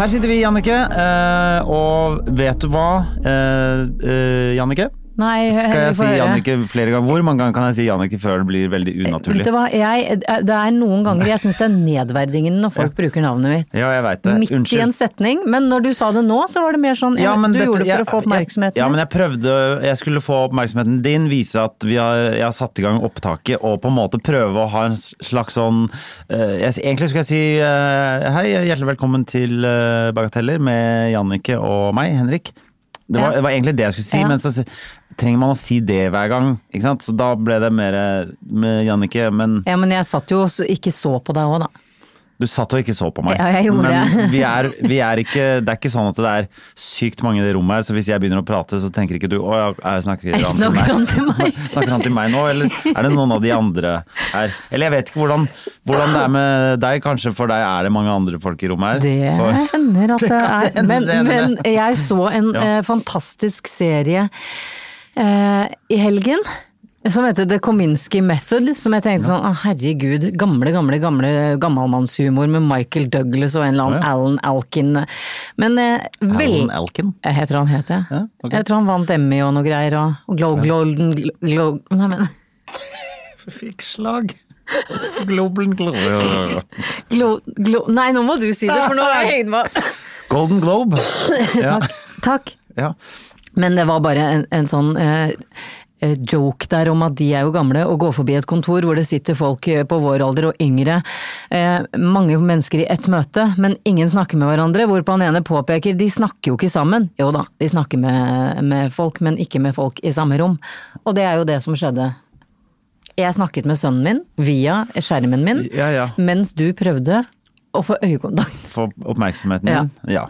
Her sitter vi, Jannike. eh, og vet du hva, eh, eh, Jannike? Nei, Skal vi jeg får si høre. Jannike flere ganger? Hvor mange ganger kan jeg si Jannike før det blir veldig Eh, Vet du unaturlig? hva, jeg, eh, det er noen ganger jeg syns det er nedverdigende når folk bruker navnet mitt. Ja, jeg vet det. Midt i en Unnskyld. setning, men når du sa det nå, så var det mer sånn Ja, jeg vet, men Du dette- gjorde det for jeg- å få oppmerksomheten. Ja, men jeg prøvde Jeg skulle få oppmerksomheten din, vise at vi har, jeg har satt i gang opptaket, og på en måte prøve å ha en slags sånn eh, jeg, Egentlig skulle jeg si eh, hei, hjertelig velkommen til eh, Bagateller med Jannicke og meg, Henrik. Det var, Ja. det var egentlig det jeg skulle si, Ja. men så si- trenger man å si det hver gang, ikke sant? Så da ble det mer eh, med Jannicke, men Ja, men jeg satt jo og ikke så på deg òg, da. du satt og ikke så på meg. Ja, jeg gjorde men det. vi er, vi er ikke, det er ikke sånn at det er sykt mange i det rommet her, så hvis jeg begynner å prate, så tenker ikke du å, jeg, jeg snakker Jeg han til snakker meg?» han til meg. Snakker han til meg nå, eller er det noen av de andre her? Eller jeg vet ikke hvordan, hvordan det er med deg, kanskje for deg er det mange andre folk i rommet her. Det For, hender at det kan er hende, Men, det hender men det. jeg så en Ja. eh, fantastisk serie eh, i helgen. Som heter The Kominsky Method, som jeg tenkte sånn, å herregud, gamle, gamle, gamle gammalmannshumor med Michael Douglas og en eller annen Ja. Alan Alkin. Men eh, vel... Alan Elkin. Jeg tror han het det. Ja, ok. Jeg tror han vant Emmy og noe greier, og, og Glow, Golden Glo- Glow- nei, men, Fikk slag. Golden Globe. Glow- Glow- nei, nå må du si det, for nå er jeg høyden på. Golden Globe. Ja, Takk. ja. Men det var bare en, en sånn eh, eh, joke der om at de er jo gamle og går forbi et kontor hvor det sitter folk eh, på vår alder og yngre. Eh, mange mennesker i ett møte, men ingen snakker med hverandre. Hvorpå han ene påpeker de snakker jo ikke sammen. Jo da, de snakker med, med folk, men ikke med folk i samme rom. Og det er jo det som skjedde. Jeg snakket med sønnen min via skjermen min, Ja, ja. mens du prøvde å få øyekontakt. Få oppmerksomheten din. Ja.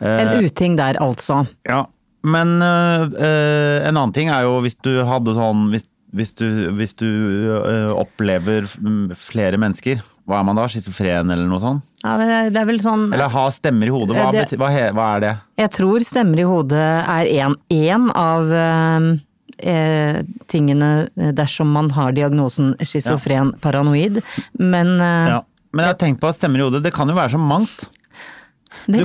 En Eh. uting der, altså. Ja, men øh, øh, en annen ting er jo hvis du hadde sånn Hvis, hvis du, hvis du øh, opplever f- m- flere mennesker, hva er man da? Schizofren eller noe sånt? Ja, det, er- det er vel sånn Eller ha stemmer i hodet, hva, Eh, det- bety, hva, he, hva er det? Jeg tror stemmer i hodet er en, en av eh, eh, tingene dersom man har diagnosen schizofren paranoid, men eh, Ja. Men jeg har tenkt på at stemmer i hodet, det kan jo være så mangt. det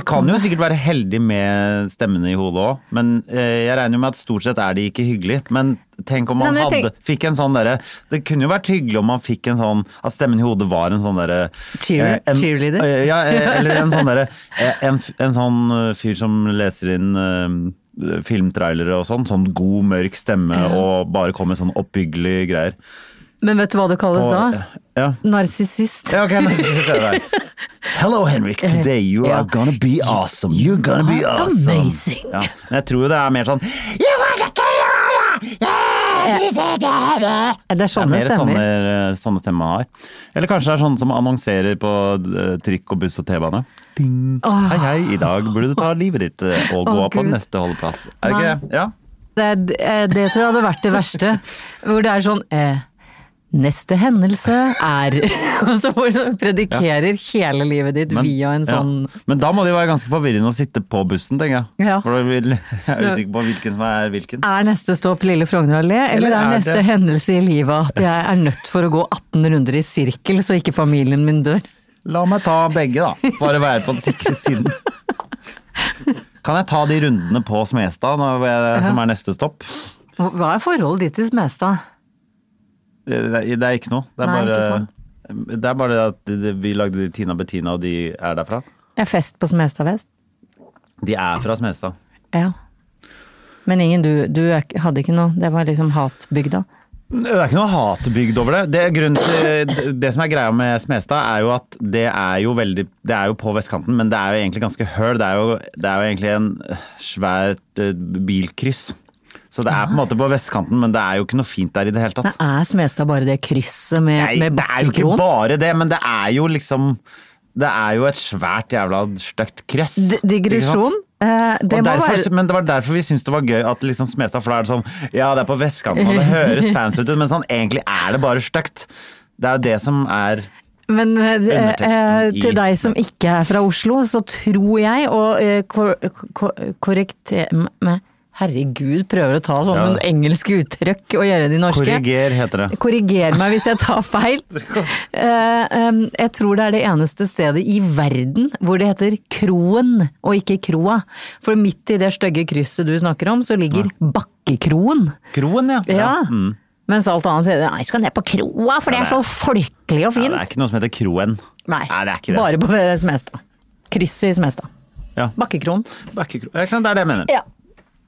Du kan jo sikkert være heldig med stemmene i hodet òg, men eh, jeg regner jo med at stort sett er de ikke hyggelige. Men tenk om man Nei, men jeg hadde, fikk en sånn derre Det kunne jo vært hyggelig om man fikk en sånn At stemmen i hodet var en sånn derre Cheer- en- cheerleader? eh, ja, eh, eller en sånn derre eh, en, f- en sånn eh, fyr som leser inn eh, filmtrailere og sånn. Sånn god, mørk stemme og bare kommer med sånn oppbyggelige greier. Men vet du hva det kalles Og, eh, da? ja. Narsissist. Ja, ok, nå synes jeg det er. Hello Henrik, today you Ja. are gonna be awesome. You're gonna be are awesome. amazing. Ja, men jeg tror jo det er mer sånn You are the killer! Yeah! Eh, Det er sånne mer sånne, stemmer. eh, sånne stemmer man har. Eller kanskje det er sånne som annonserer på eh, trikk og buss og T-bane. Ping. Hei, hei, i dag burde du ta livet ditt eh, og gå Å, på Gud. neste holdeplass. Er det ikke det? Ja. Det, er- eh, det tror jeg hadde vært det verste. Hvor det er sånn eh, Neste hendelse er Og så hvor du predikerer hele livet ditt via en sånn ja. Men da må det jo være ganske forvirrende å sitte på bussen, tenker jeg. Ja. For da vil- jeg er usikker på hvilken som er hvilken. Er neste stopp Lille Frogner allé, eller, er, er neste det- hendelse i livet at jeg er nødt for å gå 18 runder i sirkel så ikke familien min dør? La meg ta begge, da. Bare være på den sikre siden. Kan jeg ta de rundene på Smestad, når jeg, som er neste stopp? Hva hva er forholdet ditt til Smestad? Det, det er ikke noe. Det er Nei, bare, ikke sant. det er bare det at det- det- vi lagde de Tina Bettina, og de er derfra. Jeg er fest på Smestad vest. De er fra Smestad. Ja. Men ingen du, du er ikke- hadde ikke noe, det var liksom hatbygda. Det er ikke noe hatbygd over det. Det, er grunnen til, det som er greia med Smestad, er jo at det er jo veldig Det er jo på vestkanten, men det er jo egentlig ganske høl. Det er jo, det er jo egentlig en svært eh, bilkryss. Så det er på en måte på vestkanten, men det er jo ikke noe fint der i det hele Nei, tatt. er Smestad bare det krysset med, Nei, med det er jo ikke Bakkekroen? bare det, men det er jo liksom Det er jo et svært jævla stygt krøss. D- Digresjon. Eh, det Og må derfor, være Men det var derfor vi syntes det var gøy at liksom Smestad, for da er det sånn Ja, det er på vestkanten, og det høres fancy ut, men sånn egentlig er det bare stygt. Det er jo det som er Men eh, det- eh, Underteksten i- til deg som ikke er fra Oslo, så tror jeg, og eh, kor kor korrekter m- meg- Herregud, prøver å ta sånne Ja. engelske uttrykk og gjøre de norske. Korriger, heter det. Korriger meg hvis jeg tar feil. Eh, em, jeg tror det er det eneste stedet i verden hvor det heter Kroen og ikke Kroa. For midt i det stygge krysset du snakker om, så ligger Bakkekroen. Kroen, ja. Ja. Mm. Mens alt annet heter nei, skal ned på Kroa, for det er så folkelig og ja. fint. Det er ikke noe som heter Kroen. Nei, det er ikke det. bare på Smestad. Krysset i Smestad. Ja. Bakkekroen. Bakkekro- Ja, ikke sant, det er det jeg mener. Ja.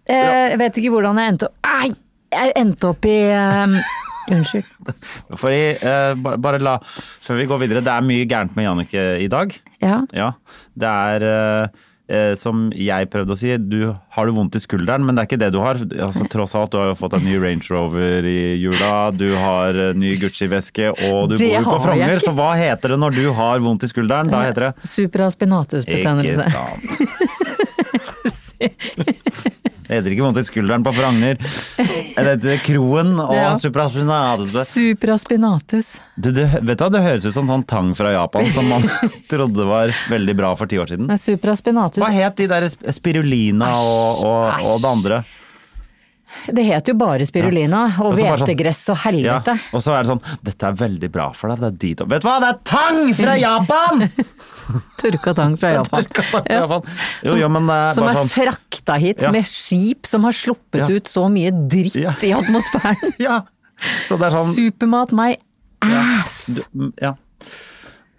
Eh, Jeg vet ikke hvordan jeg endte opp Nei! Jeg endte opp i em, Unnskyld. Fordi, eh, ba- bare la, før vi går videre, det er mye gærent med Jannicke i dag. Ja. Ja, det er eh, eh, som jeg prøvde å si, du har du vondt i skulderen, men det er ikke det du har. Altså, tross alt, du har jo fått en ny Range Rover i jula, du har eh, ny Gucci-veske, og du Det bor jo på har jeg Frogner, ikke. så hva heter det når du har vondt i skulderen? Da heter det Supraspinatusbetennelse. Ikke sant. Det heter ikke vondt i skulderen på Frogner. Det heter kroen og Ja. supraspinatose. Supraspinatus. Du, det, vet du hva, det høres ut som sånn tang fra Japan som man trodde var veldig bra for ti år siden. Nei, supraspinatus. Hva het de der sp- spirulina og, og, og det andre? Det het jo bare spirulina og Og så bare sånn- hvetegress og Ja, helvete. og så er det sånn Dette er veldig bra for deg, det er dit og Vet du hva, det er tang fra Japan! Tørka tang fra Japan. Tang fra Japan. Jo, jo, men eh, Som bare er sånn frakta hit Ja. med skip som har sluppet Ja. ut så mye dritt Ja. i atmosfæren. Ja. Så det er sånn Supermat meg ass! Mm, Ja.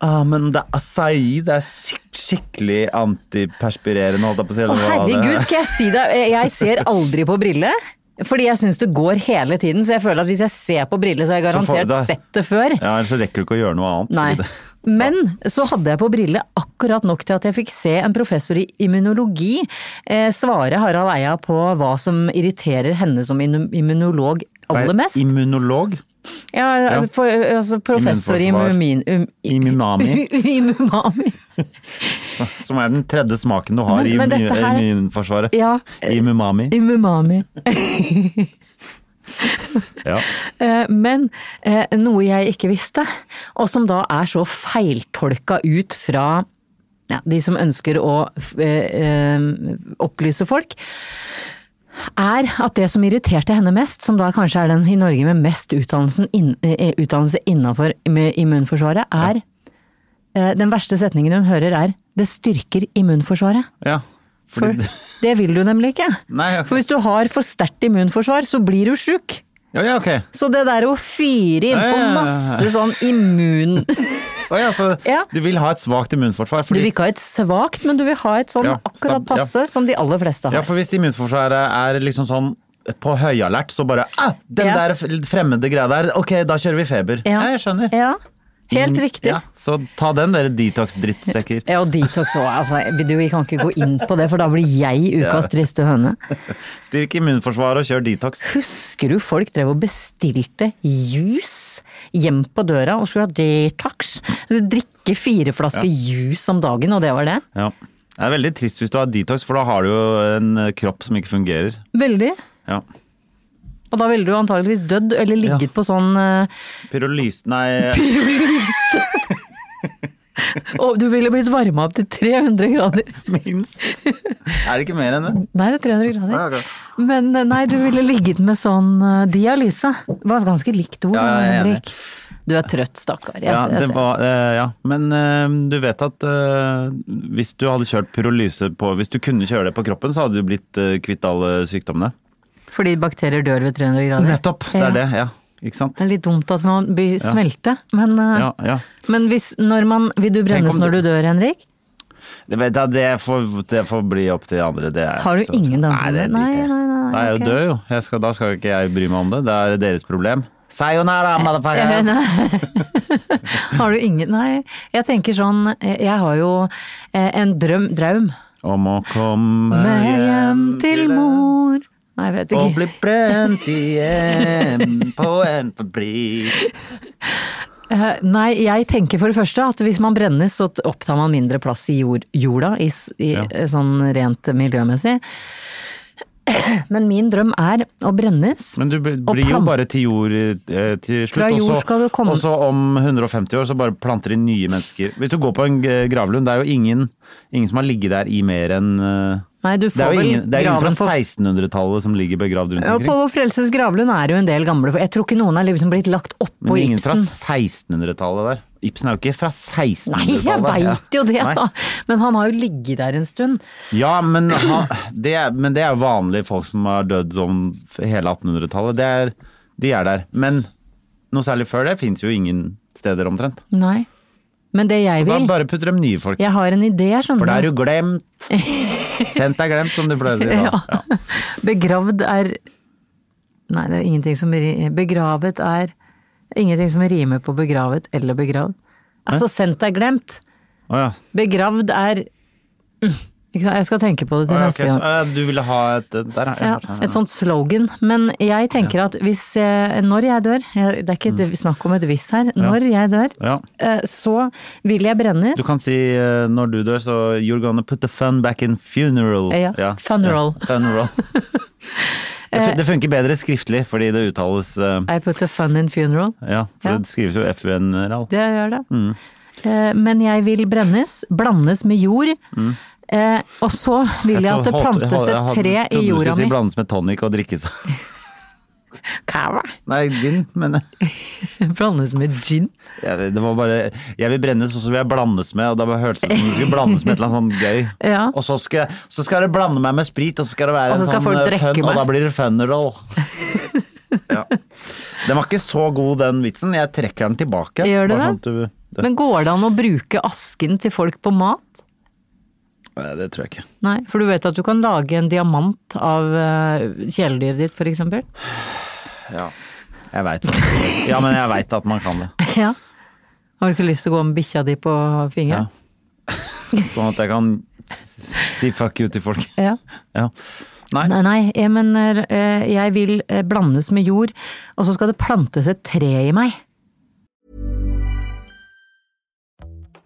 Ah, men det er acai. Det er skik skikkelig antiperspirerende, holdt jeg på å si. Å eller hva det- herregud, skal jeg si deg, jeg ser aldri på brille. Fordi jeg syns det går hele tiden, så jeg føler at hvis jeg ser på brille, så har jeg Så får- garantert da- sett det før. Ja, Ellers så rekker du ikke å gjøre noe annet. Nei. fordi det- Men så hadde jeg på brille akkurat nok til at jeg fikk se en professor i immunologi eh, svare Harald Eia på hva som irriterer henne som immun- immunolog aller mest. Immunolog. Ja, for, altså professor i Immunforsvar. immun... Um, i- Imumami, Immumami. som er den tredje smaken du har Men- i men immu- dette her- immunforsvaret. Ja. Imumami. Immumami. Ja. Eh, Men eh, noe jeg ikke visste, og som da er så feiltolka ut fra ja, de som ønsker å f- eh, eh, opplyse folk, er at det som irriterte henne mest, som da kanskje er den i Norge med mest utdannelsen inn, eh, utdannelse innafor immunforsvaret, er eh, Den verste setningen hun hører er 'det styrker immunforsvaret'. ja. For Fordi, det vil du nemlig ikke. Nei, ok. For hvis du har for sterkt immunforsvar, så blir du sjuk. ja, ja, ok. Så det der å fyre Ja, ja, innpå ja, ja. masse sånn immun Å ja, så Ja. du vil ha et svakt immunforsvar? Du Fordi, vil ikke ha et svakt, men du vil ha et sånn Ja, akkurat stab- ja. passe som de aller fleste ja, har. for hvis immunforsvaret er liksom sånn på høyalert, så bare ah, Den Ja. der fremmede greia der, ok, da kjører vi feber. Ja, jeg skjønner. Mm. Ja, Helt riktig. Ja, Ja. så ta den, dere detox-drittsekker. og detox òg. Altså, du, vi kan ikke gå inn på det, for da blir jeg ukas triste høne. Styrk immunforsvaret og kjør detox. Husker du folk drev og bestilte juice hjem på døra og skulle ha detox? Drikke fire flasker juice om dagen, og det var det? Ja. Det er veldig trist hvis du har detox, for da har du jo en eh, kropp som ikke fungerer. Veldig. Ja. Og da ville du antageligvis dødd, eller ligget på sånn eh, Pyrolyse Nei, Og du ville blitt varma opp til 300 grader. minst. Er det ikke mer enn det? Nei, det er 300 Ja, grader. ok. Men eh, nei, du ville ligget med sånn eh, dialyse. Det var ganske likt ord, Ja, ja, jeg er Henrik. Du er trøtt, stakkar. Jeg, Ja, ser- jeg, det ser. var, eh, ja. Men eh, du vet at eh, hvis du hadde kjørt pyrolyse på Hvis du kunne kjøre det på kroppen, så hadde du blitt eh, kvitt alle sykdommene. Fordi bakterier dør ved 300 grader. Nettopp! Det Ja. er det, ja. Ikke sant? Det er litt dumt at man blir smelte, men, eh, Ja, ja. men hvis, når man Vil du Tenk brennes om når du du- dør, Henrik? Det, vet jeg, det, får, det får bli opp til andre. Det er, Har du så- ingen Nei, det damer? Nei, driter jeg i. nei, nei. Da er jeg jo ok. død, jo. Jeg skal, da skal ikke jeg bry meg om det. Det er deres problem. Sayonara, Eh, motherfuckers! Har du ingen Nei, jeg tenker sånn eh, Jeg har jo eh, en drøm, draum. Om å komme Med hjem til mor. Nei, jeg vet Og ikke. bli brent igjen på en fabrikk. Eh, Nei, jeg tenker for det første at hvis man brennes, så opptar man mindre plass i jord, jorda, i, s- i, Ja. eh, sånn rent miljømessig. Men min drøm er å brennes. Men du bl- Og blir jo plant- bare til jord eh, til slutt. Fra og jord så- skal det komme- Og så om 150 år så bare planter de nye mennesker. Hvis du går på en g- gravlund, det er jo ingen, ingen som har ligget der i mer enn eh, Nei, du Det er får jo vel ingen, det er ingen fra graven på 1600-tallet som ligger begravd rundt Ja, omkring. På Vår Frelses gravlund er det jo en del gamle, for jeg tror ikke noen er liksom blitt lagt oppå Men ingen fra Ibsen. 1600-tallet der. Ibsen er jo ikke fra Nei, 1600-tallet. jeg Ja. veit jo det, Nei. da! Men han har jo ligget der en stund. Ja, men, han, det er, men det er jo vanlige folk som har dødd som f- hele 1800-tallet. Det er- De er der. Men noe særlig før det fins jo ingen steder omtrent. Nei. Men det jeg Da vil bare putter de nye folk. Jeg har en idé, skjønner For da er du glemt. Sendt er glemt, som du pleier å si. Da. Ja. Begravd er Nei, det er ingenting som ri- Begravet er Ingenting som rimer på begravet eller begravd. Altså, sendt er glemt. Å ja. Begravd er Mm, ikke sant? Jeg skal tenke på Å det til ja, ok, neste så, gang. å ja, du ville ha et der, Ja, et sånt slogan. Men jeg tenker at hvis eh, Når jeg dør, jeg- det er ikke et- snakk om et hvis her. Når jeg dør, Mm. Ja. eh, så vil jeg brennes. Du kan si eh, når du dør, så You're gonna put the fun back in funeral. Ja, funeral. Ja, Eh, funeral. Det fun- Det funker bedre skriftlig, fordi det uttales eh, I put a fun in funeral. Ja, for Ja. det skrives jo funeral. Det gjør det. Mm. Eh, Men jeg vil brennes, blandes med jord. Eh, og så vil jeg at det Mm. Jeg holdt- jeg plantes holdt- jeg et hadde- tre i trodde Du jorda skulle mi. si blandes med tonic og drikke seg Kava. Nei, gin, men Blandes med gin. ja, det det var bare Jeg vil brennes, og så vil jeg blandes med, og da bare hørtes det ut som det skulle blandes med et eller annet sånt gøy. Ja. Og så skal, så skal det blande meg med sprit, og så skal det være Og så skal en folk sånn eh, drikke fun, meg. og da blir det funeral. ja. Den var ikke så god, den vitsen. Jeg trekker den tilbake. Gjør du Bare det? sånn at du- det? Men går det an å bruke asken til folk på mat? Nei, det tror jeg ikke. Nei, for du vet at du kan lage en diamant av eh, kjæledyret ditt, for eksempel. Ja. Jeg veit Ja, men jeg veit at man kan det. Ja. Har du ikke lyst til å gå med bikkja di på Ja. fingeren? Sånn at jeg kan si fuck you til folk. Ja. Ja. Nei. Nei, nei, jeg, men eh, jeg vil eh, blandes med jord, og så skal det plantes et tre i meg.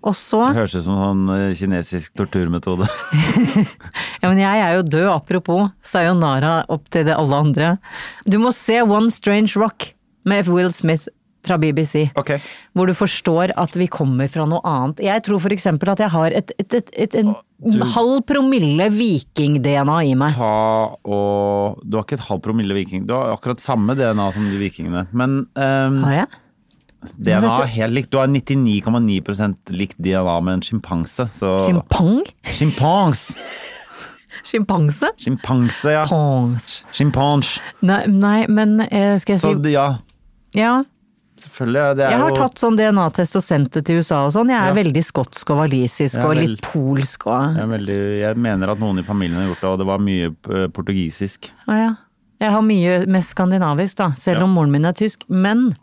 Og så Det høres ut som en sånn eh, kinesisk torturmetode. Ja, men jeg er jo død, apropos. Sayonara opp til det alle andre. Du må se One Strange Rock med Will Smith fra BBC. Ok. Hvor du forstår at vi kommer fra noe annet. Jeg tror for eksempel at jeg har et, et, et, et en Ah, halv promille viking-DNA i meg. Ta og Du har ikke et halv promille viking. Du har akkurat samme DNA som de vikingene. Men ehm, Har jeg? DNA vet du- er helt likt. Du har 99,9 likt DNA med en sjimpanse. så- Sjimpang? Sjimpans! Sjimpanse? Sjimpanse, ja. Pongs. Sjimpans. Nei, nei, men eh, skal jeg Så si det- ja, Ja. selvfølgelig. ja, Det er Jeg har jo tatt sånn DNA-test og sendt det til USA og sånn. Jeg er Ja. veldig skotsk og walisisk Ja, og vel. litt polsk og jeg, er veldig, jeg mener at noen i familien har gjort det, og det var mye eh, portugisisk. Å ja. Jeg har mye mest skandinavisk, da, selv Ja. om moren min er tysk. Men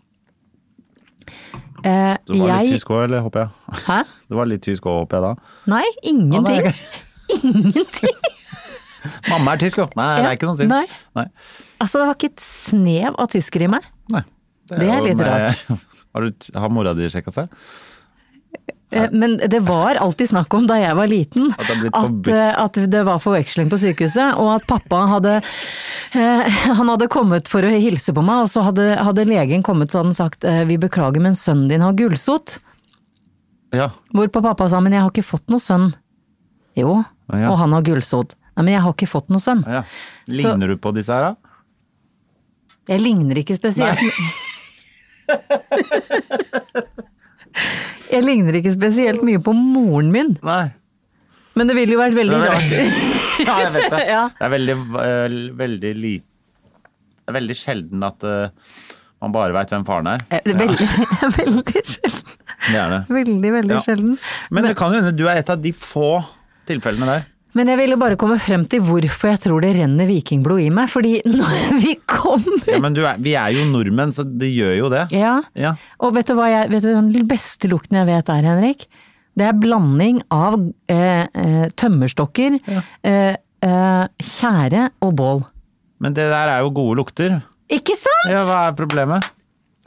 eh, Så det var jeg litt tysk òg, eller håper jeg? Hæ? Det var litt tysk òg, håper jeg da. Nei, Å, ingenting. nei. Ingenting! Mamma er tysk, jo! Nei, det Ja, er ikke noe tysk. nei. Nei. Altså, det var ikke et snev av tysker i meg. Nei. Det er jo- litt Nei. rart. Har, du, har mora di sjekka seg? Eh, Men det var alltid snakk om da jeg var liten, At det er blitt at, forbudt. eh, at det var forveksling på sykehuset, og at pappa hadde eh, Han hadde kommet for å hilse på meg, og så hadde, hadde legen kommet så hadde han sagt eh, 'vi beklager, men sønnen din har gulsott'. Ja. Hvorpå pappa sa 'men jeg har ikke fått noe sønn'. Jo, Å, ja. og han har gulsott. Nei, men jeg har ikke fått noe sønn. ja. Ligner du på disse her, da? Jeg ligner ikke spesielt Jeg ligner ikke spesielt mye på moren min, Nei. men det ville jo vært veldig rart. ja, jeg vet det. Ja. Det er veldig, eh, veldig li- Det er veldig sjelden at eh, man bare veit hvem faren er. Eh, Veldig, veldig sjelden. Gjerne. Veldig, veldig Ja. sjelden. Men det kan jo hende du er et av de få tilfellene der. Men jeg ville bare komme frem til hvorfor jeg tror det renner vikingblod i meg, fordi når vi kommer Ja, men du er, vi er jo nordmenn, så det gjør jo det. Ja, Ja. og vet du hva jeg, vet du, hva den beste lukten jeg vet er, Henrik? Det er blanding av eh, eh, tømmerstokker, eh, eh, tjære og bål. Men det der er jo gode lukter. Ikke sant? Ja, hva er problemet?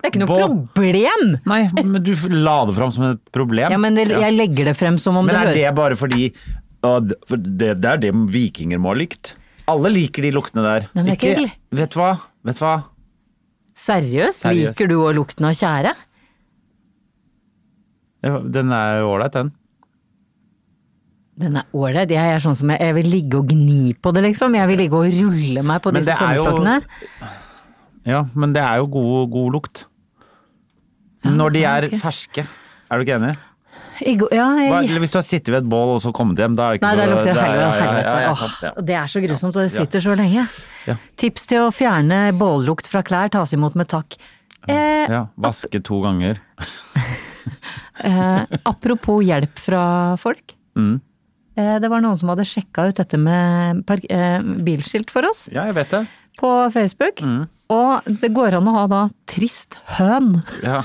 Det er ikke noe Bål. problem! Nei, men du la det fram som et problem. Ja, men det, jeg legger det frem som om Men det er hører det bare fordi å, d- for det, det er det vikinger må ha likt? Alle liker de luktene der. Nei, men det er ikke l- Vet du hva? Vet du hva? Seriøst? Seriøst. Liker du òg lukten av tjære? Ja, Den er jo ålreit, den. Den er ålreit. Jeg er sånn som jeg, jeg vil ligge og gni på det, liksom. Jeg vil ligge og rulle meg på Men disse det er jo- tømmerstokkene. Ja, men det er jo god, god lukt. Når de er ok. ferske. Er du ikke enig? I går- Ja, Hva, jeg, eller hvis du har sittet ved et bål og så kommet hjem, da er det ikke nei, det så- lukter er- ja, helvete. ja, ja, helvete. ja, Åh, sant, ja. og det er så grusomt, og det Ja. sitter så lenge. Ja. Tips til å fjerne bållukt fra klær tas imot med takk. Eh, Ja, vaske to ganger. eh, apropos hjelp fra folk. Mm. Eh, det var noen som hadde sjekka ut dette med park eh, bilskilt for oss. Ja, jeg vet det. på Facebook. Mm. Og det går an å ha da 'trist høn', Ja.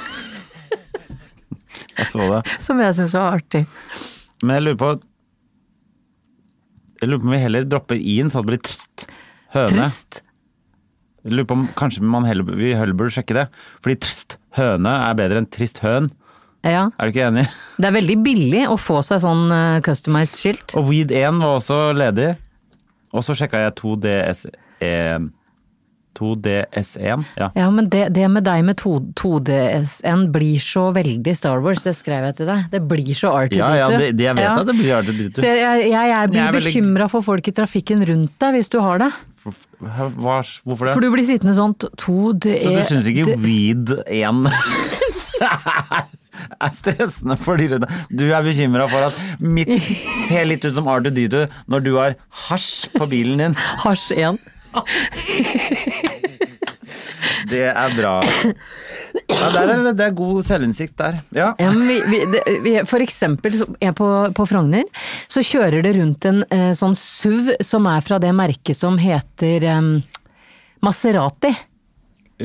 Jeg så det. som jeg syns var artig. Men jeg lurer på Jeg lurer på om vi heller dropper i-en, så det blir trst. Høne. Trist. Jeg lurer på om kanskje man heller, vi heller burde sjekke det. Fordi trst høne er bedre enn trist høn. Ja. Er du ikke enig? Det er veldig billig å få seg sånn eh, customized skilt. Og weed1 var også ledig. Og så sjekka jeg 2DS1. 2DS1? Ja. Ja, men det, det med deg med 2- 2DSN blir så veldig Star Wars, det skrev jeg til deg. Det blir så artig, Ja, ja, det- det- jeg vet at det blir R2D2. Så jeg, jeg, jeg blir Jeg er veldig- bekymra for folk i trafikken rundt deg, hvis du har det. Hva, hvorfor det? For du blir sittende sånn 2D... så du syns ikke weed1 er stressende for de rundt deg? Du er bekymra for at mitt ser litt ut som R2D2 når du har hasj på bilen din. Hasj 1. Det er bra. Ja, der er, det- det er god selvinnsikt der. Ja. Ja, men vi, vi, det, vi, for eksempel så- jeg på, på Frogner, så kjører det rundt en eh, sånn SUV som er fra det merket som heter eh, Maserati.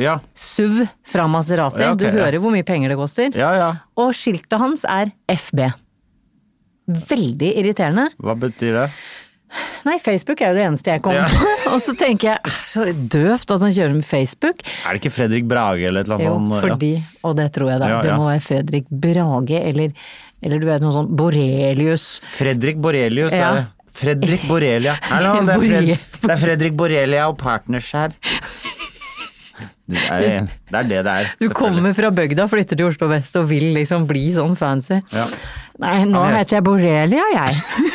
Ja, SUV fra Maserati. Ja, ok, du ja. hører hvor mye penger det koster. ja. ja. Og skiltet hans er FB. Veldig irriterende. Hva betyr det? Nei, Facebook er jo det eneste jeg kom Ja. på. Og så tenker jeg, "Æh, så døvt at han kjører med Facebook. Er det ikke Fredrik Brage eller et eller Jo, annet? sånt? Ja. fordi, og det tror jeg det er, Ja, det ja. må være Fredrik Brage, eller, eller du vet noe sånn Borelius. Fredrik Borelius Ja. er det. Fredrik Borelia. Hallo, det er, Fred, Borel- det er Fredrik Borelia og Partners her. Du, er det, det er det det er. Du selvfølgelig. kommer fra bygda, flytter til Oslo vest og vil liksom bli sånn fancy. Ja. Nei, nå Han heter- heter jeg Borrelia, jeg.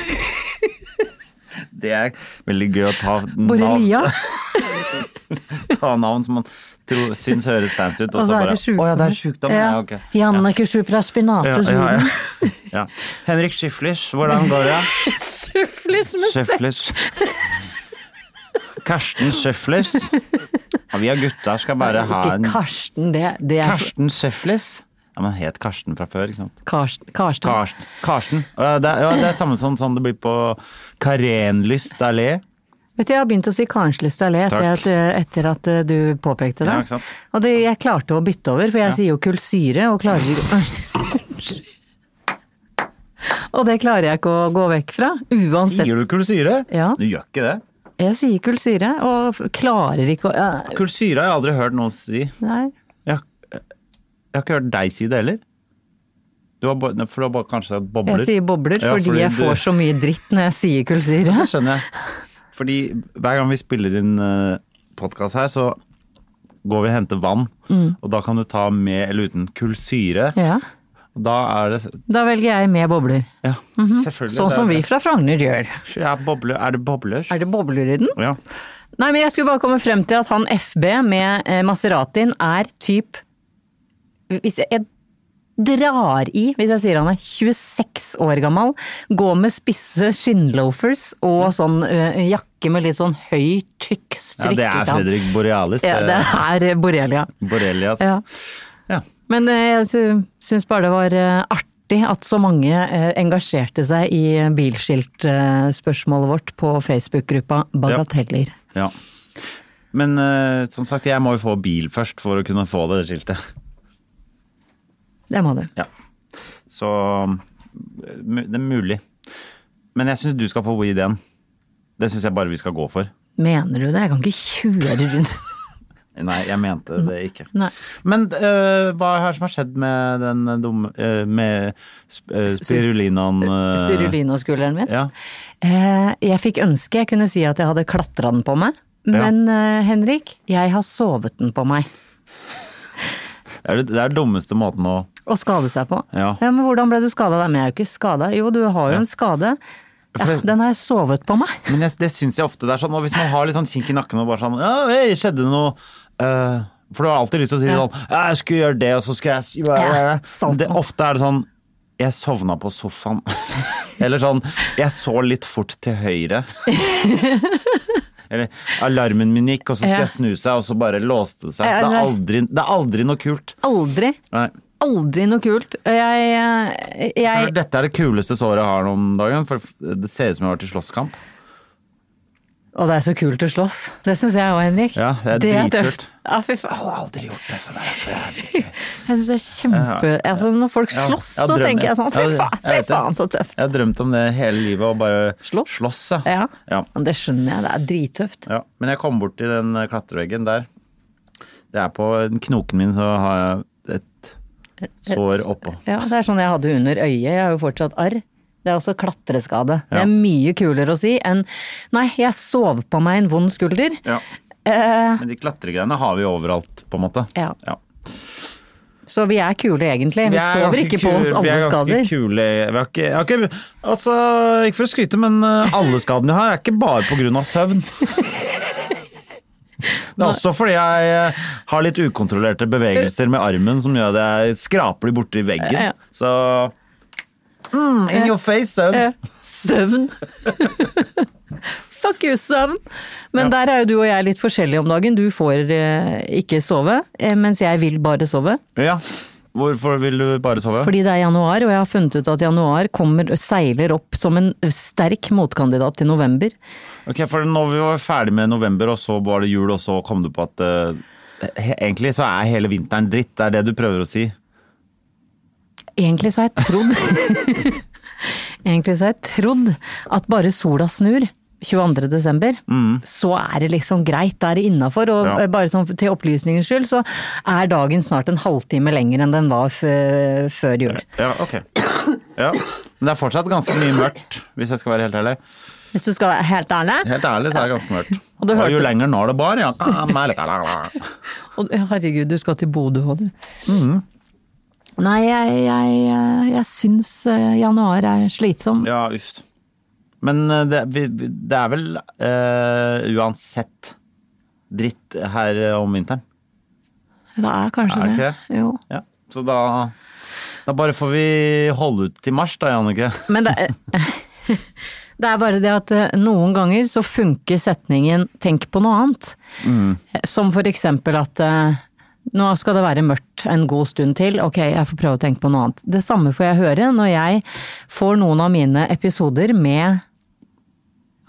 Det er veldig gøy å ta Borrelia. navn, ta navn som man tror, syns høres fancy ut, og Og så så er bare Å det sjukdom. ja, det er sjukdom. Ja. ok. Jannicke supraspinatus Ja, ja, Widen. ja. ja. Henrik Schiflis, hvordan går det? Skyflis med sekk! Schøfles. Karsten Schøfles. Ja, vi av gutta skal bare ha Ikke en Karsten, det, det er Karsten Schøfles? Ja, men het Karsten fra før, ikke sant? Karsten. Karsten. Karsten. Karsten. Ja, det, er, ja, det er samme som sånn det blir på Karenlyst allé. Vet du, jeg har begynt å si Karnslyst allé etter, Takk. at- etter at eh, du påpekte det. Ja, ikke sant. Og det, jeg klarte å bytte over, for jeg sier jo kullsyre og klarer Og det klarer jeg ikke å gå vekk fra, uansett. Sier du kulsyre? Ja. Du gjør ikke det. Jeg sier kullsyre, og f- klarer ikke å øh, Kulsyre har jeg aldri hørt noen si. Nei. Jeg, har- jeg har ikke hørt deg si det heller. Du Du har, bo- for du har bare kanskje sett bobler? Jeg sier bobler Ja, fordi jeg du- får så mye dritt når jeg sier kullsyre. Det skjønner jeg. Fordi hver gang vi spiller inn podkast her, så går vi og henter vann. Og da kan du ta med eller uten kullsyre. Mm. Ja, Og Da er det da velger jeg med bobler. Ja, selvfølgelig. Sånn det er som vi det. fra Frogner gjør. Ja, bobler. Er det bobler? Er det bobler i den? Ja. Nei, men jeg skulle bare komme frem til at han FB med eh, Maseratin er typ Hvis jeg, jeg drar i, hvis jeg sier han er 26 år gammel, går med spisse skinnloafers og sånn eh, jakke med litt sånn høy, tykk Mm. ja, strikket det er Fredrik Borealis. Ja, det er eh, borrelia. Borrelias. Ja. Ja. Men eh, jeg sy- syns bare det var eh, artig at så mange eh, engasjerte seg i bilskiltspørsmålet vårt på Facebook-gruppa Bagateller. Ja. Men eh, som sagt, jeg må jo få bil først for å kunne få det skiltet. Det må du. Ja. Så eh, mu- det er mulig. Men jeg syns du skal få ideen. Det syns jeg bare vi skal gå for. Mener du det? Jeg kan ikke kjøre rundt Nei, jeg mente det ikke. Nei. Men øh, hva er det som har skjedd med den dumme øh, Med sp øh, spirulinaen Eh, øh, spirulinaskulderen min. Ja. Eh, Jeg fikk ønske jeg kunne si at jeg hadde klatra den på meg, men eh, Henrik, jeg har sovet den på meg. Det er det, det er den dummeste måten å Og skade seg på. Ja. men hvordan ble du skada da? Men jeg er jo ikke skada. Jo, du har jo en skade. Ja, For det- den har jeg sovet på meg. Men jeg, det syns jeg ofte det er sånn. Og hvis man har litt sånn kink i nakken og bare sånn Ja, hei, skjedde det noe? Øh, for du har alltid lyst til å si Ja. sånn «Ja, Jeg skulle gjøre det, og så skulle jeg gjøre Ja, sant. det, Ofte er det sånn Jeg sovna på sofaen. Eller sånn Jeg så litt fort til høyre. Eller alarmen min gikk, og så skulle Ja. jeg snu seg, og så bare låste det seg. Det Ja, er det aldri, det er aldri noe kult. Aldri, Nei. aldri noe kult. Og Jeg, eh, For jeg dette er det kuleste såret jeg har nå om dagen, for det ser ut som jeg har vært i slåsskamp. Og det er så kult å slåss. Det syns jeg òg, Henrik. Ja, det er dritkult. tøft. Ja, fy faen. har aldri gjort det sånn Jeg syns det er kjempe altså, Når folk Ja, slåss, ja, så drømmer. tenker jeg sånn fy Ja, det- faen, fy jeg vet det. faen, så tøft. Jeg har drømt om det hele livet, og bare Slåss? ja. Ja. Ja. Men det skjønner jeg, det er drittøft. ja. Men jeg kom bort til den eh, klatreveggen der. Det er på den knoken min, så har jeg et sår oppå. Ja, det er sånn jeg hadde under øyet, jeg har jo fortsatt arr. Det er også klatreskade. Det Ja. er mye kulere å si enn nei, jeg sov på meg en vond skulder. Ja. Eh, Men de klatregreiene har vi overalt, på en måte. ja. Så vi er kule egentlig, vi, er sover ganske ikke på oss kule- alle Vi er skader. ganske kule. Vi har ikke, jeg har ikke, altså, ikke for å skryte, men eh, alle skadene jeg har er ikke bare på grunn av søvn. Det er også fordi jeg eh, har litt ukontrollerte bevegelser med armen som gjør at jeg skraper de borti Ja, ja. veggen. Så mm, In your face, søvn. Eh, Søvn. Fuck you, søvn! Men der er jo du og jeg litt forskjellige om dagen. Du får eh, ikke sove, eh, mens jeg vil bare sove. Ja. Hvorfor vil du bare sove? Fordi det er januar, og jeg har funnet ut at januar kommer, seiler opp som en sterk motkandidat til november. Ok, for Når vi var ferdig med november, og så var det jul, og så kom du på at eh, he- egentlig så er hele vinteren dritt. Det er det du prøver å si. Egentlig så har jeg trodd Egentlig så har jeg trodd at bare sola snur 22. desember, så er det liksom greit, da er det innafor. Og Mm. Ja. eh, bare sånn til opplysningens skyld, så er dagen snart en halvtime lenger enn den var f- før jul. Ja, ok. Ja. Men det er fortsatt ganske mye mørkt, hvis jeg skal være helt ærlig. Hvis du skal være helt ærlig. Helt ærlig så er det ganske mørkt. Og Og, du hørte- jo lenger når det bar, ja. kan merke det. Og, herregud, du skal til Bodø òg, du. Mm. Nei, jeg, jeg, eh, jeg syns eh, januar er slitsom. Ja, uff. Men eh, det, vi, vi- det er vel eh, uansett dritt her eh, om vinteren. Det er kanskje Er det det. ikke det? Jo. Ja. Så da, da bare får vi holde ut til mars da, Jannicke. Men det, det er bare det at eh, noen ganger så funker setningen 'tenk på noe annet'. Mm. Som for eksempel at eh, nå skal det være mørkt en god stund til, ok, jeg får prøve å tenke på noe annet. Det samme får jeg høre når jeg får noen av mine episoder med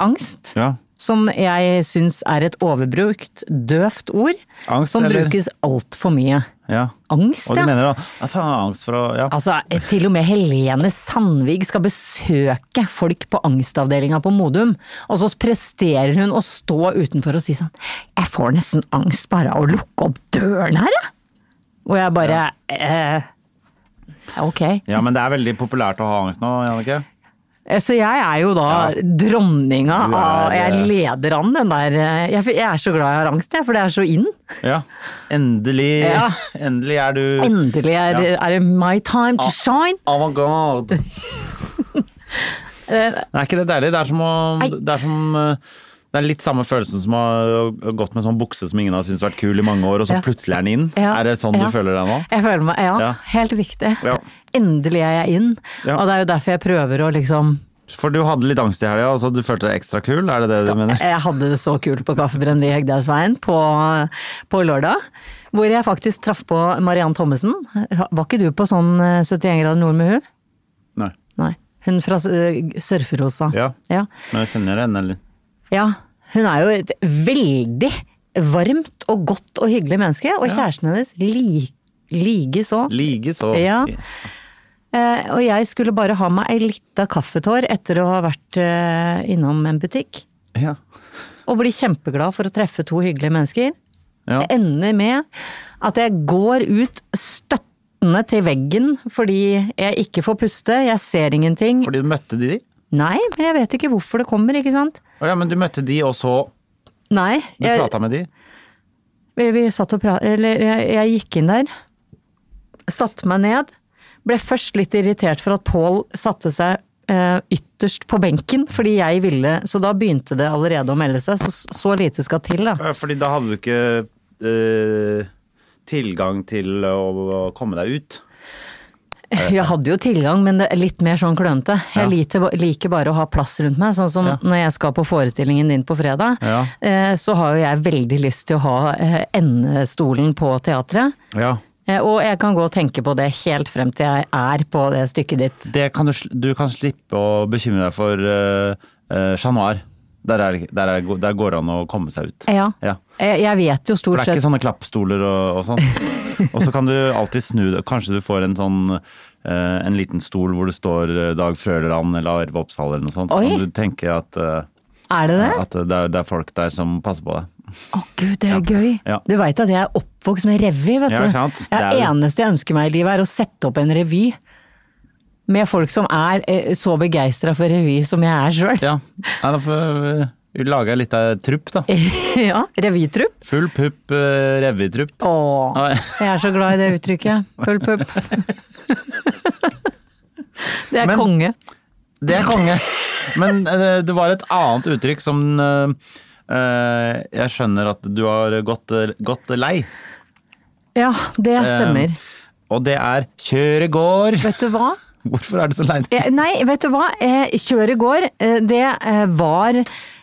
angst. Ja. Som jeg syns er et overbrukt, døvt ord. Angst, som eller? brukes altfor mye. ja. Angst, Og du ja. mener da, ja, faen, jeg har angst for å... Ja. Altså, til og med Helene Sandvig skal besøke folk på angstavdelinga på Modum, og så presterer hun å stå utenfor og si sånn Jeg får nesten angst bare av å lukke opp døren her, jeg. Og jeg bare eh, Ok. Ja, men det er veldig populært å ha angst nå, Jannicke. Eh, Så jeg er jo da dronninga Du er- av Jeg leder an den der eh, jeg, jeg er så glad jeg har angst, jeg, for det er så in. Ja. Endelig, Ja. endelig er du Endelig er, Ja. er det my time to Ah. shine. Avantgarde. er ikke det deilig? Det er som å Eh, Nei. Det er som eh, det er litt samme følelsen som å ha gått med sånn bukse som ingen har syntes vært kul i mange år, og så Ja. plutselig er den inn. Ja, Er det sånn ja. du føler deg nå? Jeg føler meg, ja, Ja. helt riktig. Ja. Endelig er jeg in, Ja. og det er jo derfor jeg prøver å liksom For du hadde litt angst i helga, og så du følte deg ekstra kul? Er det det du mener? Jeg hadde det så kult på Kaffebrenneriet Hegdehaugsveien på, på lørdag. Hvor jeg faktisk traff på Mariann Thommessen. Var ikke du på sånn eh, 71 grader nord med hun? Nei. Nei. Hun fra eh, Surferosa. Ja. ja. Men jeg sender henne, eller? Ja, hun er jo et veldig varmt og godt og hyggelig menneske, og kjæresten hennes li, like så. Lige så Ja. Eh, og jeg skulle bare ha meg ei lita kaffetår etter å ha vært eh, innom en butikk. Ja. Og bli kjempeglad for å treffe to hyggelige mennesker. Ja. Det ender med at jeg går ut støttende til veggen fordi jeg ikke får puste, jeg ser ingenting. Fordi du møtte de? Nei, men jeg vet ikke hvorfor det kommer, ikke sant? Å ja, men du møtte de, og så Nei. Du jeg- prata med de? Vi, vi satt og pra- eller jeg, jeg gikk inn der, satte meg ned, ble først litt irritert for at Pål satte seg eh, ytterst på benken, fordi jeg ville, så da begynte det allerede å melde seg, så, så lite skal til da. Ja, Fordi da hadde du ikke eh, tilgang til å, å komme deg ut. Jeg hadde jo tilgang, men det er litt mer sånn klønete. Ja. Jeg lite- liker bare å ha plass rundt meg, sånn som Ja. når jeg skal på forestillingen din på fredag, Ja. eh, så har jo jeg veldig lyst til å ha eh, endestolen på teatret. Ja. Eh, Og jeg kan gå og tenke på det helt frem til jeg er på det stykket ditt. Det kan du, sl- du kan slippe å bekymre deg for eh, eh, Chat Noir. Der, er, der, er, der går det an å komme seg ut. Ja. Ja. Jeg jeg vet jo For stort det er sett ikke sånne klappstoler og, og sånn. Og så kan du alltid snu det. Kanskje du får en sånn eh, en liten stol hvor det står eh, Dag Frøleland eller Arve Oppsal eller noe sånt. Så Oi. kan du tenke at, eh, Er det det? at det, er, det er folk der som passer på deg. Å gud, det er gøy! Ja. Du veit at jeg er oppvokst med revy, vet du. Ja, ikke sant? Det Det er jo- eneste jeg ønsker meg i livet er å sette opp en revy. Med folk som er eh, så begeistra for revy som jeg er sjøl. Ja, Nei, da får vi lage litt av trupp, da. ja, revytrupp. Full pupp, eh, revytrupp. Å, Nei. jeg er så glad i det uttrykket. Full pupp. det er Men- konge. Det er konge. Men eh, det var et annet uttrykk som eh, eh, Jeg skjønner at du har gått, eh, gått lei. Ja, det Eh, stemmer. Og det er 'kjøre går'. vet du hva? Hvorfor er du så lei? Eh, Nei, vet du hva? Eh, Kjøret går. Eh, Det eh, var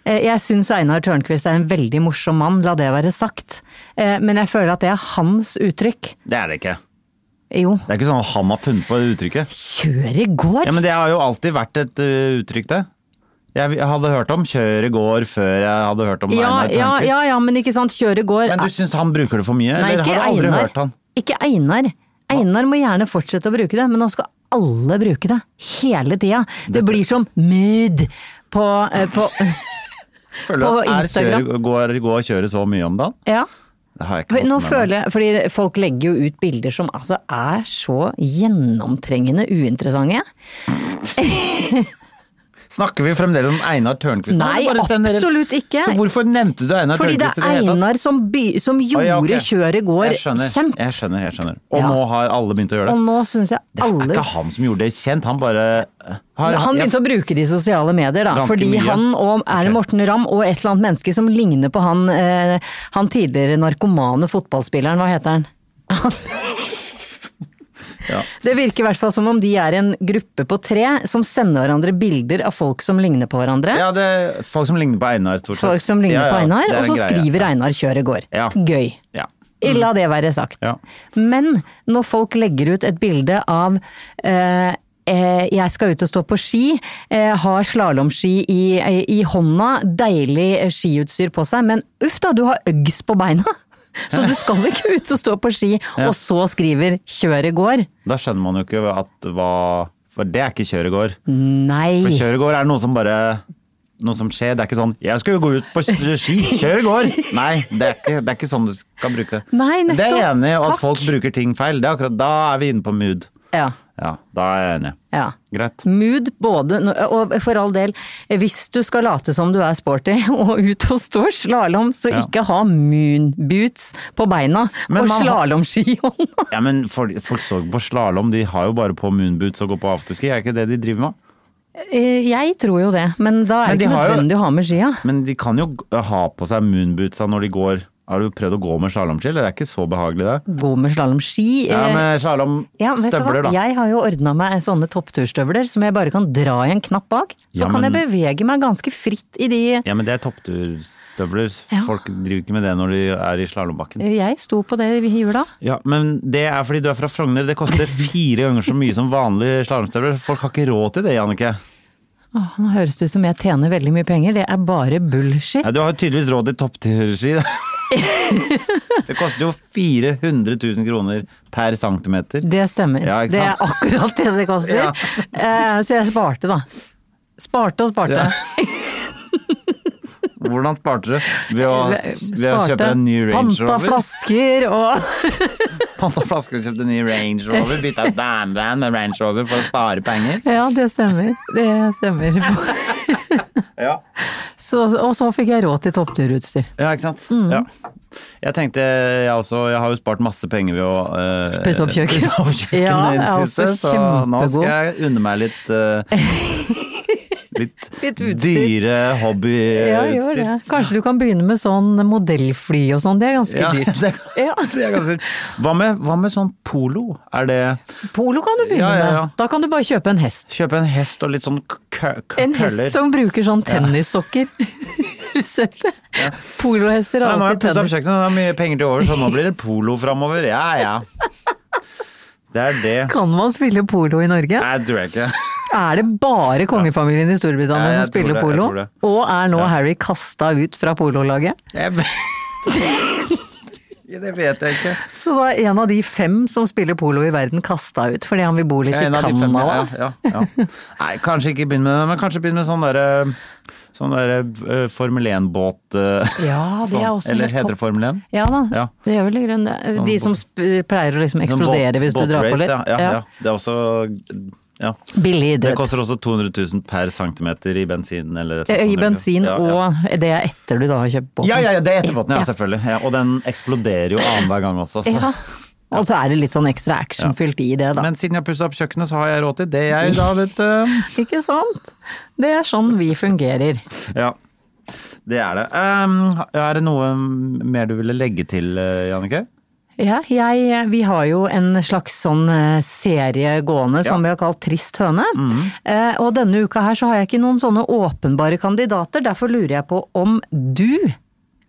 eh, Jeg syns Einar Tørnquist er en veldig morsom mann, la det være sagt. Eh, Men jeg føler at det er hans uttrykk. Det er det ikke. Jo, Det er ikke sånn at han har funnet på det uttrykket. kjøret går? Ja, Men det har jo alltid vært et eh, uttrykk, det. Jeg, jeg hadde hørt om 'kjøre går' før jeg hadde hørt om ja, Einar ja, Tørnquist. ja, ja, men ikke sant. Kjøret går. Ah, Men du syns han bruker det for mye? Nei, eller ikke har du aldri Einar. hørt han? Ikke Einar. Einar må gjerne fortsette å bruke det, men nå skal alle bruke det. Hele tida. Det blir som mood på, eh, på Føler På du at er Instagram. kjøre, går, går kjøret så mye om dagen? Ja. Det har jeg ikke For fått Nå med meg. føler jeg, fordi Folk legger jo ut bilder som altså er så gjennomtrengende uinteressante. Snakker vi fremdeles om Einar Tørnquist? nå, Nei, eller bare generelt? absolutt ikke. Så hvorfor nevnte du Einar Fordi det Tørnquist er i det hele tatt? Einar som, by, som Å, gjorde ja, ok. kjøret går Jeg skjønner, kjent. Jeg skjønner, jeg skjønner. Og Ja. nå har alle begynt å gjøre Og det. nå syns jeg Det er alle ikke han som gjorde det kjent, han bare har, Han begynte å bruke det i sosiale medier, da. Ganske Fordi mye. han og er det Ok. Morten Ramm og et eller annet menneske som ligner på han, eh, han tidligere narkomane fotballspilleren, hva heter han? Det virker i hvert fall som om de er en gruppe på tre som sender hverandre bilder av folk som ligner på hverandre. Ja, det er folk som ligner på Einar, stort sett. folk som ligner Ja, ja, på det Einar, er og en så greie. skriver Einar 'kjøret går'. Ja. Gøy. Ja. La det være sagt. Ja. Men når folk legger ut et bilde av eh, eh, jeg skal ut og stå på ski, eh, har slalåmski i, i hånda, deilig eh, skiutstyr på seg, men uff da, du har Uggs på beina! Så du skal ikke ut og stå på ski, og så skriver 'kjøret går'. Da skjønner man jo ikke at hva For det er ikke kjøregård. Nei! For kjøregård er noe som bare noe som skjer, Det er ikke sånn 'jeg skal jo gå ut på ski, kjør i går'! Nei, det er, ikke, det er ikke sånn du skal bruke det. Nei, nettopp. Det er jeg enig i, og Takk. at folk bruker ting feil. Det er akkurat, da er vi inne på mood. Ja. Ja, da er jeg enig. Ja. Greit. Mood både, og for all del, hvis du skal late som du er sporty og ut og stå slalåm, så Ja. ikke ha moonboots på beina Men og man har- slalåmski i hånda. Ja, men folk, folk så ikke på slalåm, de har jo bare på moonboots og går på afterski, er ikke det de driver med? Eh, Jeg tror jo det, men da er Men det de ikke har jo- nødvendig å ha med skia. Men de kan jo g- ha på seg moonbootsa når de går. Har du prøvd å gå med slalåmski, eller? Det er ikke så behagelig, det. Gå med slalåmski. Ja, eh, med ja, vet du hva? slalåmstøvler, da. Jeg har jo ordna meg sånne toppturstøvler som jeg bare kan dra i en knapp bak. Så Ja, kan jeg men- bevege meg ganske fritt i de eh, Ja, men det er toppturstøvler. Ja. Folk driver ikke med det når de er i slalåmbakken. Jeg sto på det i jula. Ja, men det er fordi du er fra Frogner. Det koster fire ganger så mye som vanlige slalåmstøvler. Folk har ikke råd til det, Jannicke. Åh, nå høres det ut som jeg tjener veldig mye penger, det er bare bullshit. Ja, du har jo tydeligvis råd til toppturski. da. Det koster jo 400 000 kroner per centimeter. Det stemmer. Ja, ikke det er sant? akkurat det det koster. Ja. Eh, så jeg sparte, da. Sparte og sparte. Ja. Hvordan sparte du? Ved å, ved å Sparte. kjøpe en ny Range Panta Rover? flasker og Panta flasker og kjøpte en ny Range Rover. Bytta ut bandband med Range Rover for å spare penger. Ja, det stemmer. Det stemmer. Ja, Så, og så fikk jeg råd til toppturutstyr. ikke sant? Mm. Ja. Jeg tenkte jeg også, jeg har jo spart masse penger ved å eh, Pusse opp kjøkkenet. pusse opp kjøkkenet Ja, i det jeg er siste, også så nå skal kjempegod. jeg unne meg litt eh, Litt, Litt utstyr. dyre hobbyutstyr. Ja, gjør det. Kanskje du kan begynne med sånn modellfly og sånn, det er ganske Ja, dyrt. det, Ja. det er ganske dyrt. Hva med, hva med sånn polo? Er det Polo kan du begynne Ja, ja, ja. med. Da kan du bare kjøpe en hest. Kjøpe en hest og litt sånn k- k- En hest køller? som bruker sånn tennissokker. Har du sett det? Polohester Nei, har nå har jeg alltid pusset opp tennis. kjøkkenet, det er mye penger til over, så nå blir det polo framover. Ja, ja. Det er det. Kan man spille polo i Norge? Nei, det tror jeg ikke. Er det bare kongefamilien i Storbritannia Ja, jeg som spiller tror det, jeg polo? tror det. Og er nå Harry kasta ut fra pololaget? Jeg... Ja, Det vet jeg ikke. Så da er en av de fem som spiller polo i verden kasta ut fordi han vil bo litt Jeg er i en av de fem, Canada? ja, ja, ja. Nei, kanskje ikke begynn med det, men kanskje begynn med sånn derre sånn der, eh, Formel 1-båt Ja, det er også sånn. Eller helt heter topp. det Formel 1? Ja da, Ja. det gjør vel i grunnen det. De Sånn som sp- pleier å liksom Sånn eksplodere båt- hvis du drar på båtrace, litt. Ja, ja, Ja. ja. Det er også ja. Billig Det idrett. koster sånn også 200 000 per centimeter i bensin eller et eller Eh, annet I sånt, bensin ja, ja. og det er etter du da har kjøpt båten. Ja, ja, ja, det er etterbåten, ja, selvfølgelig. Ja, og den eksploderer jo annenhver gang også. Så. Ja. Og så er det litt sånn ekstra actionfylt i det, da. Men siden jeg pussa opp kjøkkenet, så har jeg råd til det, jeg da, vet du. Ikke sant? Det er sånn vi fungerer. Ja, det er det. Ehm, er det noe mer du ville legge til, eh, Jannicke? Ja, jeg, vi har jo en slags sånn eh, serie gående som vi har kalt Trist høne. Mhm. Eh, og denne uka her så har jeg ikke noen sånne åpenbare kandidater, derfor lurer jeg på om du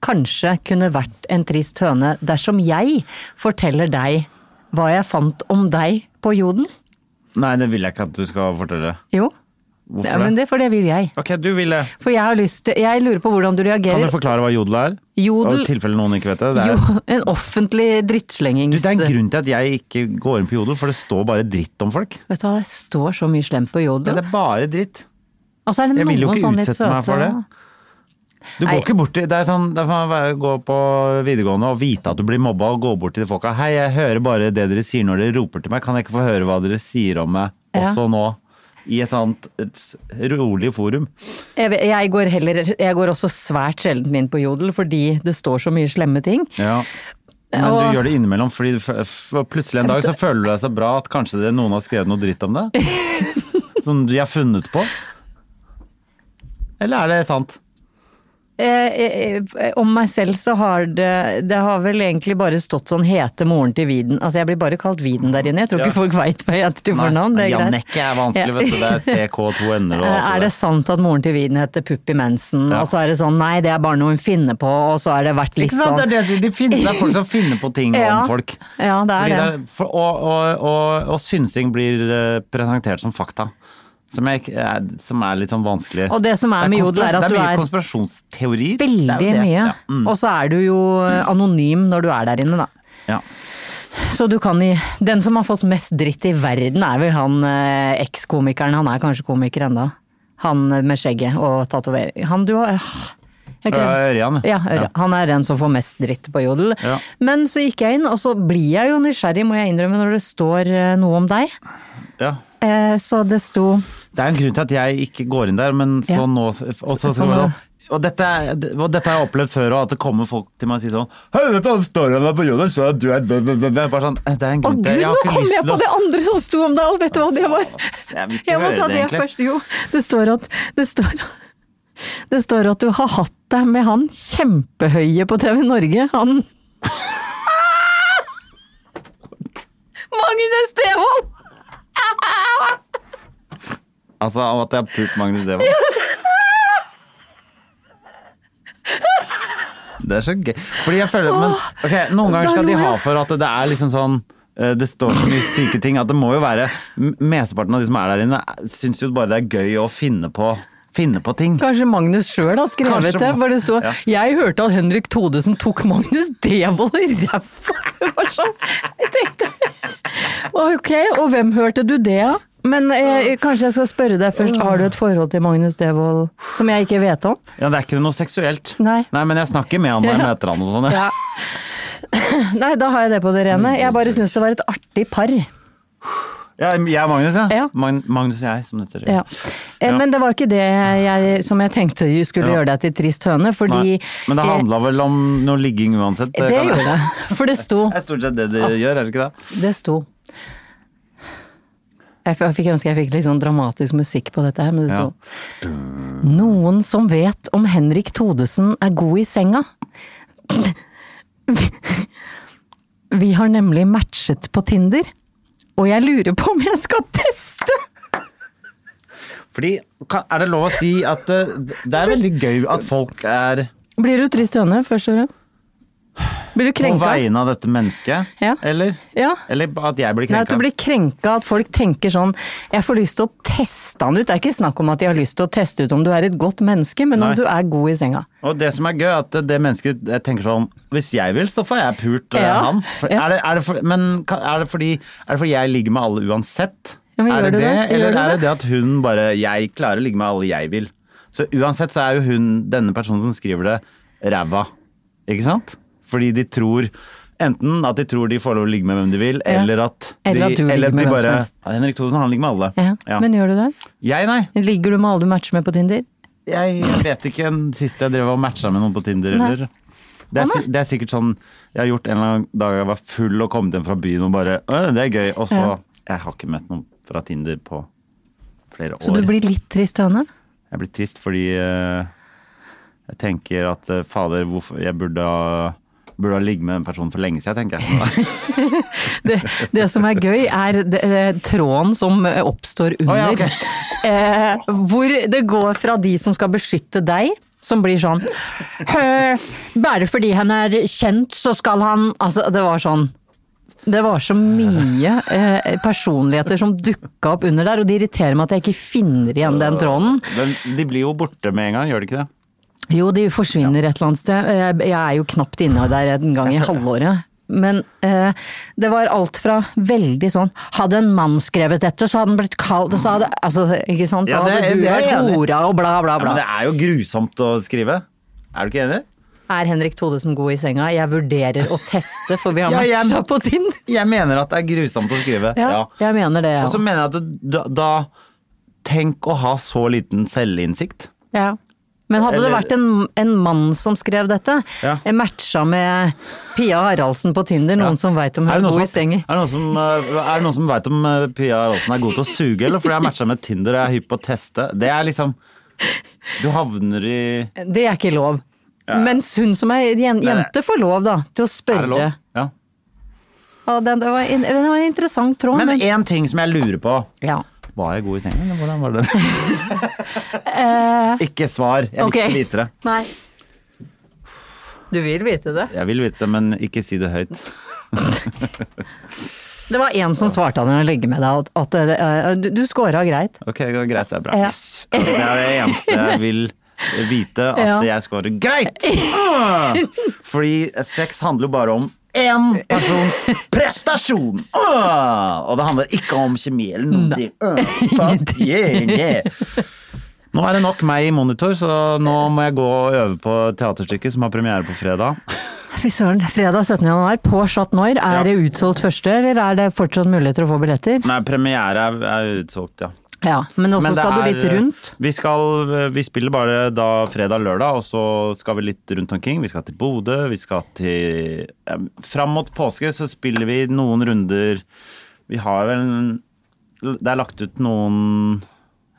kanskje kunne vært en trist høne dersom jeg forteller deg hva jeg fant om deg på joden? Nei, det vil jeg ikke at du skal fortelle. Jo. Hvorfor Ja, men det? det, for det vil jeg. Ok, du ville. For jeg har lyst til Jeg lurer på hvordan du Kan reagerer. du forklare hva jodel er? Jodel- Og I tilfelle noen ikke vet det. Det er, Jo, en offentlig drittslengings... du, det er en grunn til at jeg ikke går inn på jodel, for det står bare dritt om folk. Vet du hva, det står så mye slemt på Det jodel. er bare dritt. Og så er det Jeg noen vil jo ikke sånn litt utsette meg søte- for det. Du Nei. går ikke bort til Det er sånn, da får man være- gå på videregående og vite at du blir mobba, og gå bort til de folka. Hei, jeg hører bare det dere sier når dere roper til meg. Kan jeg ikke få høre hva dere sier om meg Ja. også nå? I et annet et s- rolig forum. Jeg, vet- jeg, går heller, jeg går også svært sjelden inn på jodel, fordi det står så mye slemme ting. Men Og- du gjør det innimellom, fordi du fø- f- plutselig en dag så føler du deg så bra at kanskje det, noen har skrevet noe dritt om deg. Som de har funnet på. Eller er det sant? Eh, eh, eh, om meg selv så har det Det har vel egentlig bare stått sånn hete moren til Viden. Altså jeg blir bare kalt Viden der inne, jeg tror Ja. ikke folk veit hva jeg heter til fornavn. Det er greit. Jannicke er vanskelig, vet du. Det er CK2N-er og Eh, alt Er det sant at moren til Viden heter Puppi Mensen, Ja. og så er det sånn nei, det er bare noe hun finner på, og så har det vært litt Ikke sant? Det sånn er, det, jeg sier. de finner, det er folk som finner på ting Ja. om folk. Ja, det er Fordi det. er- for, og, og, og, og synsing blir eh, presentert som fakta. Som, jeg, ikke- er, som er litt sånn vanskelig. Og det som er med jodel er konspira- at du Det er er- mye konspirasjonsteorier. Det er jo Veldig det. mye. Ja. Mm. Og så er du jo eh, anonym når du er der inne, da. Ja. Så du kan i Den som har fått mest dritt i verden, er vel han eh, ekskomikeren. Han er kanskje komiker enda. Han eh, med skjegget og tatovering. Han du har ah, jeg Ja, glemmer. Ørjan. Ja, Ørjan. Han er den som får mest dritt på jodel. Ja. Men så gikk jeg inn, og så blir jeg jo nysgjerrig, må jeg innrømme, når det står eh, noe om deg. Ja. Eh, så det sto Det er en grunn til at jeg ikke går inn der, men så Ja. nå Og så Så- skal sånn man er da- og dette, er- og dette har jeg opplevd før òg, at det kommer folk til meg og sier sånn Hei, vet du, han står her på jorden, så er du er bø, bø, bø, bø». Jeg er Bare sånn, det er en Å grunn gud, til nå kom jeg på det andre som sto om deg, og vet du hva det var? Jeg vil ikke Jeg må høre det, ta det egentlig. først. Jo, det står at det står, det står at du har hatt deg med han kjempehøye på TV Norge. Han Magnus Devold! Altså, av at jeg har pult Magnus Devold. Det er så gøy. Fordi jeg føler men, ok, Noen ganger da skal de lo ha jeg. for at det er liksom sånn eh, det står så mye syke ting at det må jo være m- Mesteparten av de som er der inne, syns jo bare det er gøy å finne på, finne på ting. Kanskje Magnus sjøl har skrevet Kanskje det, Ma- hvor det står Ja. 'Jeg hørte at Henrik Thodesen tok Magnus Devold i ræva'. Det var sånn, jeg tenkte Ok, og hvem hørte du det av? Men eh, kanskje jeg skal spørre deg først, har du et forhold til Magnus Devold som jeg ikke vet om? Ja, Det er ikke noe seksuelt. Nei. men jeg snakker med han når jeg Ja. møter han og sånn. Ja. Nei, da har jeg det på det rene. Jeg bare syns det var et artig par. Ja, jeg er Magnus, ja. Ja. Magn Magnus og jeg, som det heter. Ja. Ja. Eh, Men det var ikke det jeg, som jeg tenkte skulle Ja. gjøre deg til trist høne, Nei. fordi Men det handla vel om noe ligging uansett? eh, kan Det jeg- gjorde det. For det sto. Det er stort sett det de gjør, er det ikke det? Det sto. Jeg f- jeg fikk ønske jeg fikk litt sånn dramatisk musikk på dette her, men det Ja. sto Noen som vet om Henrik Thodesen er god i senga. Vi har nemlig matchet på Tinder, og jeg lurer på om jeg skal teste! Fordi, kan, er det lov å si at eh, det er veldig gøy at folk er Blir du trist høne, først og fremst? Blir du på krenka? vegne av dette mennesket? Ja. Eller? Ja. Eller at jeg blir Nei, at krenka? du blir krenka, at folk tenker sånn Jeg får lyst til å teste han ut. Det er ikke snakk om at de har lyst til å teste ut om du er et godt menneske, men Nei. om du er god i senga. Og det som er gøy, er at det mennesket jeg tenker sånn Hvis jeg vil, så får jeg pult eh, Ja. han. For, Ja. er det, er det for, men kan- er det, fordi, er det fordi jeg ligger med alle uansett? Ja, men er gjør du det? Gjør Eller du er det det? det at hun bare Jeg klarer å ligge med alle jeg vil. Så uansett så er jo hun, denne personen som skriver det, ræva. Ikke sant? Fordi de tror Enten at de tror de får lov å ligge med hvem de vil, Ja. eller at de, Eller at du ligger de med hvem som bare helst. Ja, Henrik Thosen, han ligger med alle. Ja. Ja. Men gjør du det? Jeg, nei. Ligger du med alle du matcher med på Tinder? Jeg vet ikke en sist jeg drev og matcha med noen på Tinder, Nei. eller. Det er, si- det er sikkert sånn jeg har gjort en eller annen dag jeg var full og kommet hjem fra byen og bare «Å, Det er gøy. Og så Ja. Jeg har ikke møtt noen fra Tinder på flere år. Så du blir litt trist høne? Jeg blir trist fordi eh, jeg tenker at eh, fader, hvorfor Jeg burde ha, burde ha ligget med den personen for lenge siden, tenker jeg. Det, det som er gøy, er det, eh, tråden som eh, oppstår under. Å, ja, ok. eh, hvor det går fra de som skal beskytte deg, som blir sånn «Hø, Bare fordi han er kjent, så skal han Altså, det var sånn. Det var så mye eh, personligheter som dukka opp under der, og det irriterer meg at jeg ikke finner igjen den tråden. Men de blir jo borte med en gang, gjør de ikke det? Jo, de forsvinner et eller annet sted. Jeg, jeg er jo knapt inne der en gang i halvåret. Men eh, det var alt fra veldig sånn Hadde en mann skrevet dette, så hadde han blitt kalt så hadde, altså, Ikke sant? Da Ja, det- hadde du det er jeg vært enig i. hora og bla, bla, Ja, bla. men det er jo grusomt å skrive. Er du ikke enig? Er Henrik Thodesen god i senga? Jeg vurderer å teste, for vi har Ja, jeg- matcha på Tinder. Jeg mener at det er grusomt å skrive. Ja, jeg mener det, Og så ja. mener jeg at du- da, da Tenk å ha så liten selvinnsikt. ja. Men hadde det Eller- vært en, en mann som skrev dette, Ja. eh, matcha med Pia Haraldsen på Tinder, noen som veit om hun Er det er noen god i som, senga? er det noen som, eh, er det noen som veit om eh, Pia Rolsen er god til å suge, eller fordi jeg matcha med Tinder og jeg er hypp på å teste? Det er liksom Du havner i Det er ikke lov. Mens hun som er jen nei. jente får lov da, til å Er det lov? spørre. Ja. Ja, den- det, var en, det var en interessant tråd. Men Men, én ting som jeg lurer på. ja. Var jeg god i senga, eller hvordan var det? ikke svar. Jeg vil Eh. ok. ikke vite det. Nei. Du vil vite det. Jeg vil vite det, men ikke si det høyt. Det var en som svarte han å legge med deg, at, at eh, du, du scora greit. Ok, det går greit. Det er bra. Ja. Yes. Det er det eneste jeg vil vite, at Ja. jeg scorer greit! Ah! Fordi sex handler jo bare om én persons prestasjon! Ah! Og det handler ikke om kjemi eller noen ting. Ah, fuck yeah, yeah. Nå er det nok meg i monitor, så nå må jeg gå og øve på teaterstykket som har premiere på fredag. Fy søren. Fredag 17. januar på Chat Noir. Er Ja. det utsolgt første, eller er det fortsatt muligheter å få billetter? Nei, premiere er, er utsolgt, ja. Ja, men også Men det skal du er- eh, litt rundt. Vi, skal, vi spiller bare da fredag-lørdag, og så skal vi litt rundt omkring. Vi skal til Bodø, vi skal til ja, Fram mot påske så spiller vi noen runder Vi har vel en- Det er lagt ut noen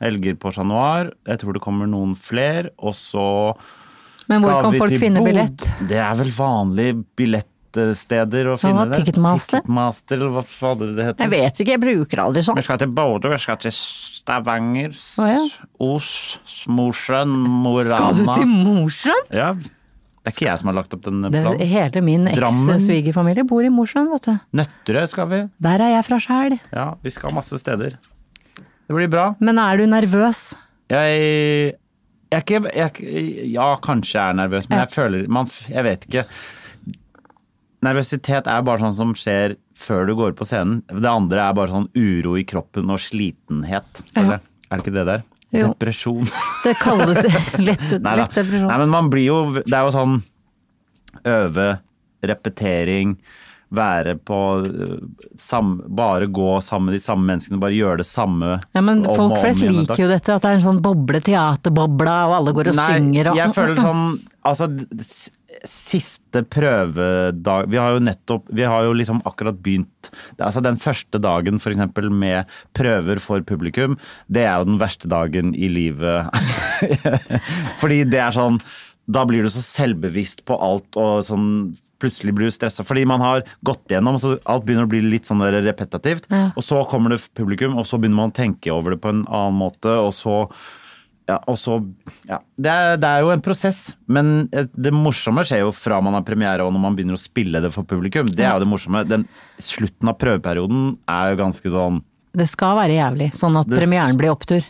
helger på Chat Noir. Jeg tror det kommer noen fler, og så Men hvor skal kan vi folk til finne Bod- billett? Det er vel vanlige billettsteder å finne hva, det. Ticketmaster? Ticketmaster, eller hva fader det heter. Jeg vet ikke, jeg bruker aldri sånn. Vi sånt. skal til Bodø, vi skal til Stavanger, Å, ja. Os, Mosjøen, Mo Rana Skal du til Mosjøen? Ja. Det er ikke jeg som har lagt opp den Det, planen. hele min Drammen? eks-svigerfamilie bor i Mosjøen, vet du. Nøtterøy skal vi. Der er jeg fra sjæl. Ja, vi skal masse steder. Det blir bra. Men er du nervøs? Jeg, jeg er ikke jeg, er ikke- Ja, kanskje jeg er nervøs, men jeg føler man, f- Jeg vet ikke. Nervøsitet er bare sånn som skjer før du går på scenen. Det andre er bare sånn uro i kroppen og slitenhet. føler jeg. Er det ikke det der? Jo. Depresjon. Det kalles lett, Nei, lett da. depresjon. Nei, men man blir jo Det er jo sånn øve, repetering, være på øh, sam, Bare gå sammen med de samme menneskene, bare gjøre det samme. Ja, men om og folk om flest igjen en dag. liker jo dette, at det er en sånn boble, teaterbobla, og alle går og Nei, synger og jeg føler sånn Altså, d- d- s- siste prøvedag Vi har jo nettopp Vi har jo liksom akkurat begynt Det er Altså, den første dagen for eksempel med prøver for publikum, det er jo den verste dagen i livet. Fordi det er sånn Da blir du så selvbevisst på alt og sånn Plutselig blir du stressa fordi man har gått gjennom, så alt begynner å bli litt sånn der repetativt. Og så kommer det publikum, og så begynner man å tenke over det på en annen måte, og så ja, og så, ja. Det, er, det er jo en prosess, men eh, det morsomme skjer jo fra man har premiere og når man begynner å spille det for publikum. Det er jo det morsomme. Den slutten av prøveperioden er jo ganske sånn Det skal være jævlig, sånn at Det s- premieren blir opptur.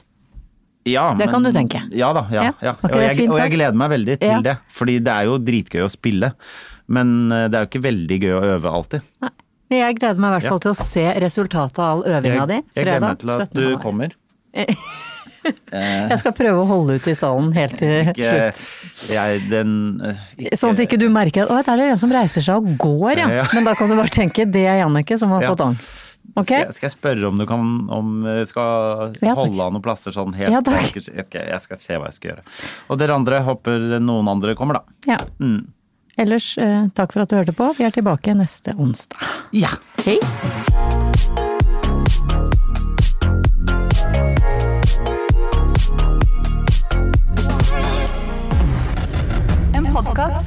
ja, Det kan du tenke. Ja da. ja, Ja, ja. ok, og, det er jeg, fint og jeg sagt. gleder meg veldig til Ja. det, fordi det er jo dritgøy å spille. Men eh, det er jo ikke veldig gøy å øve alltid. Nei. Men jeg gleder meg i hvert Ja. fall til å se resultatet av all øvinga di. Jeg, jeg gleder meg til at du kommer. Jeg skal prøve å holde ut i salen helt til Ikke- slutt. Jeg, den, eh, Sånn at ikke du merker at 'å, der er det en som reiser seg og går', ja. Ja. Men da kan du bare tenke 'det er Jannicke som har Ja. fått angst'. Ok? Skal, jeg- skal jeg spørre om du kan om eh, skal Ja, takk. holde av noen plasser sånn helt Ja, takk. bakerst? Ok, jeg skal se hva jeg skal gjøre. Og dere andre håper noen andre kommer, da. Ja. Mm. Ellers, eh, takk for at du hørte på. Vi er tilbake neste onsdag. Ja. Hei! En podkast